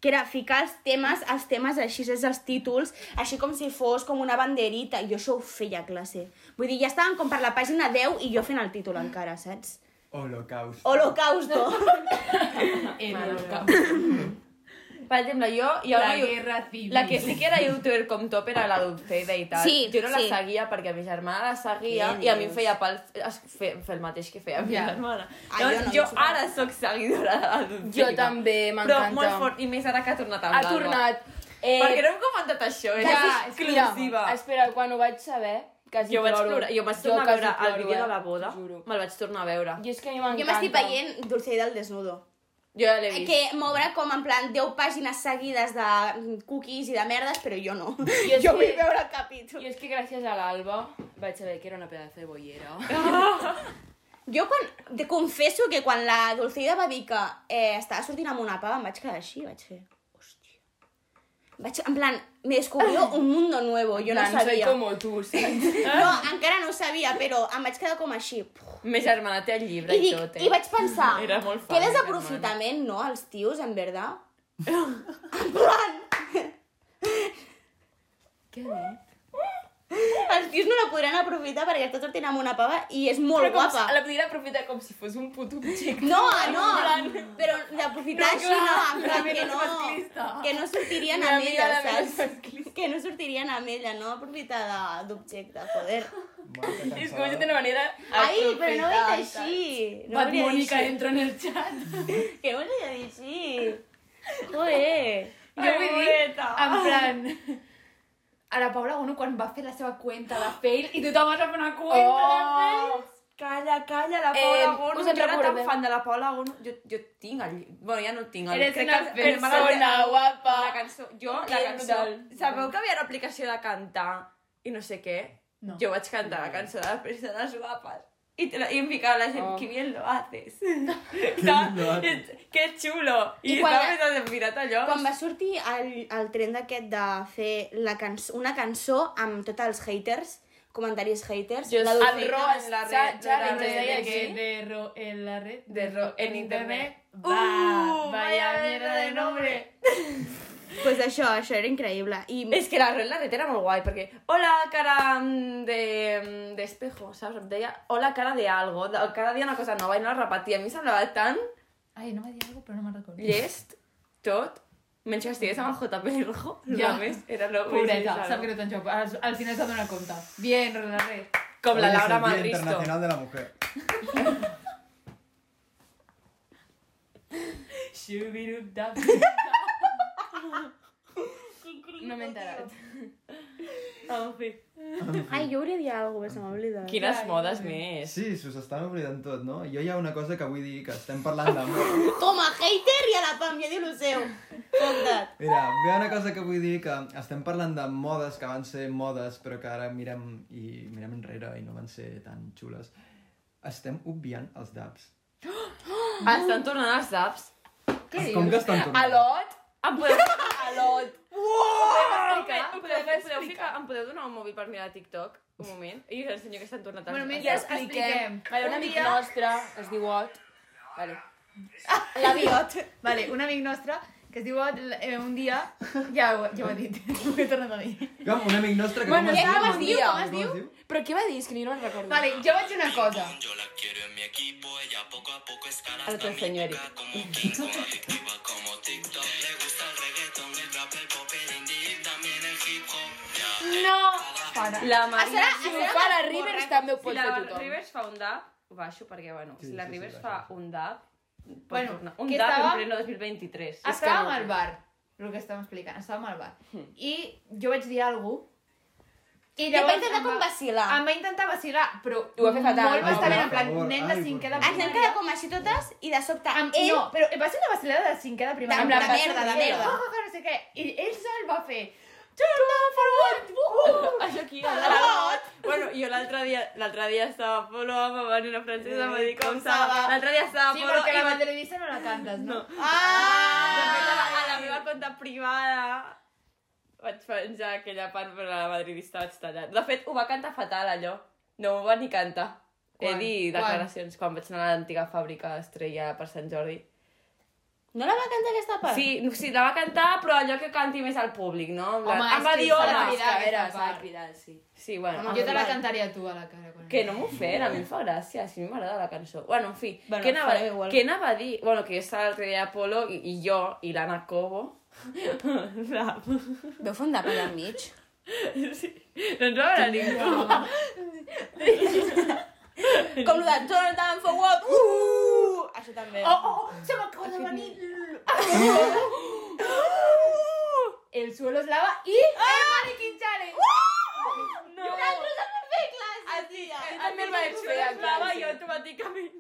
E: Que era ficar els temes, els temes així, és els títols, així com si fos com una banderita. Jo això ho feia a classe. Vull dir, ja estàvem com per la pàgina 10 i jo fent el títol encara, saps?
B: Holocaust.
E: Holocausto.
C: Per exemple, jo... Hi ha
D: La
C: una iu-
D: guerra civil.
C: La que sí que era youtuber com top era la Dulceida i tal.
E: Sí,
C: jo no la
E: sí.
C: seguia perquè mi germana la seguia
E: Què
C: i a mi em
E: dius?
C: feia pal es- fer, fer el mateix que feia mi
D: Ja.
C: germana.
E: Ah,
C: Llavors,
E: jo no,
C: jo,
E: no soc-
C: ara sóc seguidora de la Dulceida.
F: Jo també,
C: Però molt
F: m'encanta.
C: fort, i més ara que ha tornat a
F: Ha tornat.
C: Eh, perquè no hem comentat això, és
F: quasi-
C: exclusiva.
F: Mira, espera, quan ho vaig saber, quasi
C: Jo vaig
F: ploro.
C: plorar, jo vaig tornar a
F: quasi
C: veure el
F: ploro,
C: vídeo
F: eh,
C: de la boda,
F: t'ho Juro.
C: me'l vaig tornar a veure.
F: I és que a mi m'encanta.
E: Jo m'estic veient Dulceida al desnudo.
C: Jo ja l'he vist.
E: Que m'obre com en plan 10 pàgines seguides de mm, cookies i de merdes, però jo no.
F: Jo és
E: Jo vull
F: que-
E: veure el capítol.
F: I és que gràcies a l'Alba vaig saber que era una pedazo de bollera.
E: Jo quan, te confesso que quan la Dulceida va dir que eh, estava sortint amb una pava, em vaig quedar així, vaig fer... Hòstia. Vaig, en plan, me descubrió un mundo nuevo, jo no
F: Plan,
E: sabia.
F: Soy como Ah. tu, saps?
E: No, encara no ho sabia, però em vaig quedar com així.
C: Més germana té el llibre
E: I,
C: i,
E: dic,
C: tot, eh?
E: I vaig pensar,
C: Era molt
E: que
C: fan,
E: desaprofitament, no, els tios, en veritat? en plan,
F: Què dius?
E: els els tios no la podran aprofitar perquè està sortint amb una pava i és molt
F: Però com
E: guapa.
F: si- La podria aprofitar com si fos un puto xic.
E: No, no, però d'aprofitar això no, en plan que no, que no sortirien
F: Una
E: amb
F: amiga
E: ella,
F: de menys
E: saps? Que no sortirien amb ella, no aprofitar de- d'objecte, joder.
C: Oh,
B: Bueno, que
F: És com
B: cansada.
F: si té una manera...
E: Ai, però no ho he dit
F: aprofitar,
E: així. No ho
D: Bad
E: hauria dit
D: Mónica
E: així.
D: entra en el xat.
E: Què volia dir així? Joder.
D: Jo vull dir, en plan... A la Paula Gono quan va fer la seva cuenta de fail i tothom va fer una cuenta
C: Oh.
D: de fail.
C: Calla, calla, la
F: Eh,
C: Paula Gono.
F: us
C: jo
F: en
C: era tan
F: recordeu?
C: fan de la Paula Gono. Jo, jo tinc el... lli- Bueno, ja no el tinc. El...
F: Eres
C: crec
F: una
C: que- però m'agrada-
F: persona guapa.
C: La cançó... Jo, la
F: Ets
C: cançó...
F: el-
C: Sabeu que havia una aplicació de cantar i no sé què?
D: No.
C: Jo vaig cantar la cançó de les persones guapes. I, te la, i em ficava la gent,
F: Oh.
C: que bien lo haces. Está-
B: lo haces.
C: es- Que chulo. I,
E: I
C: I
E: quan
C: estava
E: la-
C: pensant, mira, allò...
E: Quan va sortir el, el tren d'aquest de fer la cançó, una cançó amb tots els haters, comentaris haters,
F: Jo
E: la
F: sé-
E: Dulceida-
C: El ro en la red.
F: Cha- challenge,
C: de la
F: deia
C: red,
F: que-
C: sí.
D: de ro en la red.
C: De ro en internet.
D: Va,
C: Uh,
D: vaya
C: vaya
D: mierda de nombre.
E: pues això, això era increïble. I
C: És que la Red Larreta era molt guai, perquè hola cara mm, de, de espejo, saps? Em deia hola cara de algo, de, cada dia una cosa nova i no la repetia. A mi em semblava tan
D: Ai, no va dir alguna però no me'n recordo.
C: llest tot, menys que estigués amb el JP Rojo, ja.
D: Ja.
C: només era lo
D: Pobreta,
C: més
D: sap que no te'n joc. Al, al final s'ha donat compte. Bien, ro en la red.
C: Com la
B: Hoy es
C: Laura
B: el Día
C: Manristo.
B: Internacional de la Mujer.
D: Shubirubdab.
F: No m'he enterat.
C: En fi.
E: Ai, jo hauria de dir alguna cosa, se m'ha oblidat.
C: Quines modes més.
B: Sí, s'us estan oblidant tot, no? Jo hi ha una cosa que vull dir, que estem parlant d'amor.
E: Com a hater i a la Pam, ja diu el seu. Compta't.
B: Mira, hi ha una cosa que vull dir, que estem parlant de modes que van ser modes, però que ara mirem i mirem enrere i no van ser tan xules. Estem obviant els dabs.
C: Estan tornant els apps.
B: Com que estan tornant?
F: Alot?
C: Em podeu,
F: Alot.
C: podeu,
F: explicar?
D: pues,
C: podeu, podeu, podeu, ficar, em podeu donar un mòbil per mirar TikTok? Un moment. I us ensenyo que estan tornant els
D: Bueno,
C: apps.
D: mentre expliquem.
F: Vale, un amic nostre es diu Ot. Vale.
E: L'aviot.
D: Vale, un amic nostre que es diu Ot, eh, un dia... Ja ho, ja ho he dit, ho he tornat a dir.
B: Com? Un amic nostre que
F: Bueno,
B: com es
F: ja
B: diu?
F: com es diu, com
B: es diu?
F: Però què va dir? És que ni no me'n recordo.
D: Vale, jo vaig dir una cosa.
H: Yo la quiero en mi equipo, ella poco a poco escala
C: Ahora
H: hasta
C: te
H: mi
C: enseño, Eric.
H: boca como King Kong, adictiva como TikTok. Le gusta el reggaeton, el rap, el pop, el indie y también el hip hop. Ya,
D: No! Para.
C: La Marina...
F: Si ho fa la Rivers també
C: si
F: ho pot
C: la
F: fer tothom.
C: Rivers fa un dab, ho baixo perquè, bueno,
B: Sí,
C: si la
B: sí, sí,
C: Rivers
B: baixo,
C: fa un dab,
D: Bueno,
C: bueno, tornar. un
D: que
C: dab
D: estava-
C: en pleno 2023. És que
D: Estàvem
C: no.
D: al bar, el que estàvem explicant, estàvem al bar. I jo vaig dir alguna cosa i
E: I vaig
D: em
E: intentar com
D: va-
E: vacilar.
D: Em va intentar vacilar, però
F: Ho va fer fatal.
D: molt
B: Ai,
D: bastant,
B: per
D: en plan, em
B: favor,
D: nen
B: ai,
D: de
B: per
D: cinquè de
B: favor.
E: Ens hem quedat com així totes i de sobte
D: Amb,
E: ell...
D: No, però eh, va ser una vacilada de cinquè de primària.
E: De-
D: en plan,
E: de merda, de
D: va ser-
E: merda.
D: Ja, ja, ja, no sé què. I ell sol va fer... Jordan Forward! Uh!
C: Això aquí, al bar. Bueno, jo l'altre dia, l'altre dia estava a Polo, em va venir la francesa, em va dir com estava. L'altre dia estava a
D: Sí,
C: Polo
D: perquè
C: i
D: la
C: va...
D: madridista no la cantes, no? Ah. no.
C: De fet, a la- a la meva compte privada vaig penjar aquella part, però la madridista vaig tallar. De fet, ho va cantar fatal, allò. No ho va ni cantar. He
D: Quan?
C: dit
D: Quan?
C: declaracions quan vaig anar a l'antiga fàbrica Estrella per Sant Jordi.
E: No la va cantar aquesta part?
C: Sí, no, sí, la va cantar, però allò que canti més al públic, no? En plan,
D: Home,
C: em va
D: és que
C: dir
D: s'ha de
C: hola.
D: cridar.
F: sí.
C: Sí, bueno.
E: Home,
C: en
D: Jo te la
C: plan,
D: cantaria a tu a la cara. Quan
C: Que no m'ho fer, a mi em fa gràcia, si a mi m'agrada la cançó. Bueno, en fi,
E: Bueno,
C: què, anava,
E: farem igual.
C: què anava a dir? Bueno, que jo estava l'altre dia a Polo i, i jo i l'Anna Cobo. la-
E: Veu fer un dap allà enmig?
C: sí. No ens va veure ningú.
E: Com lo de Jordan Forward! Uh! Això també.
D: Oh, oh, oh, se m'acaba de venir... El suelo es lava i... El maniquí challenge!
C: Ah. No.
E: Nosaltres hem de fer classes, tia!
C: També el vaig fer a classe. I jo automàticament.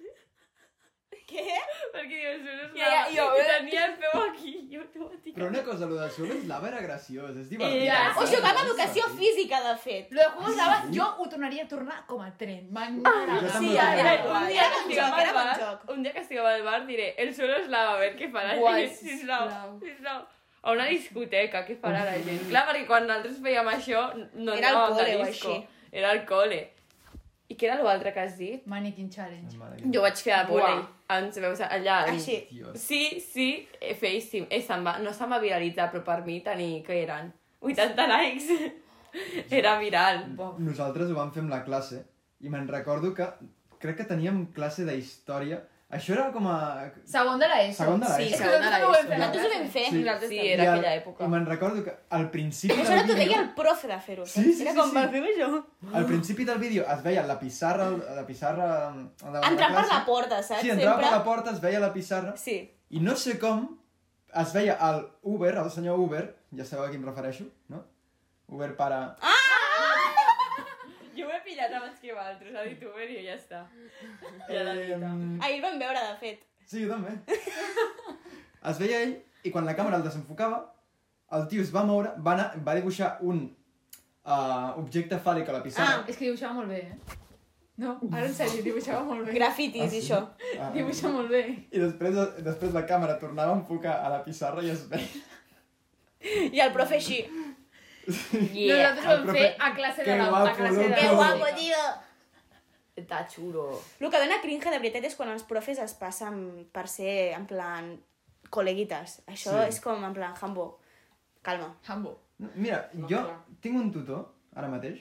E: Què?
C: Perquè dius, no és
F: Ja, ja,
C: ja,
F: jo,
C: I
F: eh?
C: tenia el peu aquí. I jo automàticament.
B: Però una cosa, lo del sol és lava era graciós, és divertit.
C: Ja,
E: Ho Ah, jugava a educació física, de fet.
D: Lo de Juegos Lava jo ho tornaria a tornar com a tren. M'encanta.
B: Ah, Jo
E: Sí,
B: també
E: era,
B: era
C: un
E: guai.
C: dia
E: Era
C: que
E: un joc,
C: estiguem al
E: era un
C: bar,
E: joc.
C: un dia que estiguem al bar diré, el suelo es lava, a veure què farà la
F: Guai,
C: gent, sisplau,
F: sisplau.
C: sisplau. A una discoteca, què farà la gent? Clar, perquè quan nosaltres fèiem això, no
E: Era al
C: anàvem de
E: cole o
C: disco.
E: així.
C: Era al cole. I què era l'altre que has dit?
D: Mannequin Challenge.
C: Jo vaig fer a vòlei.
F: Uah.
C: Ens veus allà. en-
E: Així.
B: Dios.
C: Sí, sí, eh, feíssim. Eh, se'm va, no se'm va viralitzar, però per mi tenir, que eren? 80 likes. Era viral. Buah.
B: Nosaltres ho vam fer amb la classe i me'n recordo que crec que teníem classe de història. Això era com a...
D: Segon de l'ESO.
B: Segon de l'ESO.
D: Sí,
B: Sí,
D: segon de l'ESO.
E: Nosaltres ho vam fer.
B: Sí.
C: Sí,
F: també.
C: era
B: I al-
C: aquella època.
B: I me'n recordo que al principi
E: Això no t'ho
B: vídeo-
E: deia el profe de fer-ho.
B: Sí,
E: saps?
B: sí,
E: Era
B: sí,
E: com
B: sí.
E: va fer això.
B: Al principi del vídeo es veia la pissarra, la pissarra... davant de
E: Entrant per
B: classe.
E: la porta, eh, saps?
B: Sí, entrava per la porta, es veia la pissarra,
E: Sí.
B: i no sé com es veia el Uber, el senyor Uber, ja sabeu a qui em refereixo, no? Uber para...
C: Jo ho he pillat abans que vosaltres, a youtuber i ja està. Ja la
B: Eh,
E: Ahir el vam veure, de fet.
B: sí, jo també. Es veia ell, i quan la càmera el desenfocava, el tio es va moure, va, anar, va dibuixar un uh, objecte fàl·lic a la
E: Ah,
B: pissarra.
D: És que dibuixava molt bé, eh? No, ara en sèrio, dibuixava molt bé.
E: Grafitis i això.
B: Ah,
D: Dibuixa molt bé.
B: I després, després la càmera tornava a enfocar a la pissarra i es veia...
E: I el profe així.
D: Yeah. Nosaltres ho
B: El
D: vam
B: profe-
D: fer a classe
B: Que
D: de la
B: guapo,
D: a classe
B: loco.
D: de
E: Que
B: Oh.
E: guapo, tio!
C: Está chulo.
E: El que dona cringe, de veritat, és quan els profes es passen per ser, en plan, col·leguites. Això
B: Sí.
E: és com, en plan, Hambo, calma.
D: Hambo.
B: No, Mira, jo tinc un tutor, ara mateix,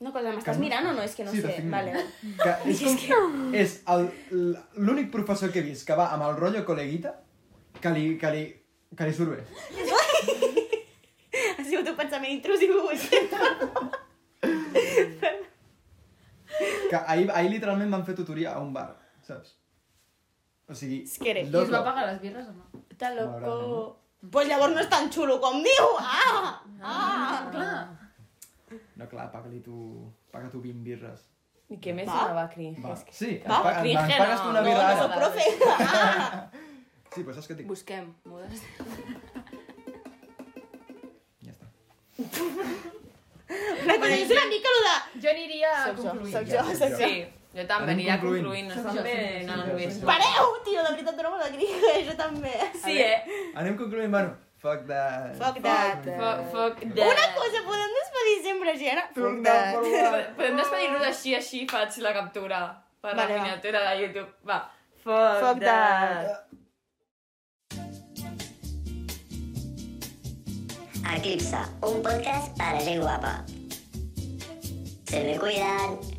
E: No, cosa, m'estàs
B: Que-
E: mirant o no? És que no
B: Sí,
E: sé.
B: t'estic mirant.
E: Vale.
B: que és, com, és el- l- l'únic professor que he vist que va amb el rotllo col·leguita que li, que li, que li surt bé.
E: Ha sigut un pensament intrusiu. ho sento.
B: Que ahir, ahir literalment van fer tutoria a un bar, saps? O sigui...
E: És que
D: I
E: eres.
D: es
B: dos-
D: va pagar les birres o no?
E: Està
B: M'agrada,
E: loco. Pues llavors no és tan xulo com diu. Ah! Ah!
D: Clar.
B: No, clar, paga-li tu... Paga tu 20 birres.
C: I què més
E: Va.
C: anava cringe?
B: Va,
C: És que...
B: sí,
C: va,
B: ens pa- ens- ens
C: cringe,
B: pagues tu
C: no,
B: una
E: No,
B: birra
E: no
B: ara.
E: sóc profe. Ah!
B: Sí, però saps què et dic?
F: Busquem modes.
B: Ja està.
E: Però és una mica lo de...
D: Jo aniria a
E: Soc jo,
D: concluir.
E: soc jo, soc jo.
C: Sí, jo també
B: Anem
C: aniria
B: concluint.
C: concluint. No
D: Sí,
C: estan
D: sí,
C: bé,
D: sí,
C: no,
B: sí,
C: no,
B: sí,
C: no.
B: sí.
E: Pareu, tio, de veritat dona molt de cringe, jo també.
C: Sí, eh?
B: Anem concloent, bueno, fuck that.
E: Fuck that.
C: Fuck, fuck that.
E: Una cosa, podem despedir sempre, Gianna? Fuck that.
C: Podem despedir-nos així, així faig la captura per
E: Vale,
C: la
E: va.
C: miniatura de YouTube. Va, fuck,
E: Fuck that.
A: Eclipse, un podcast para gent guapa. Se me cuidan.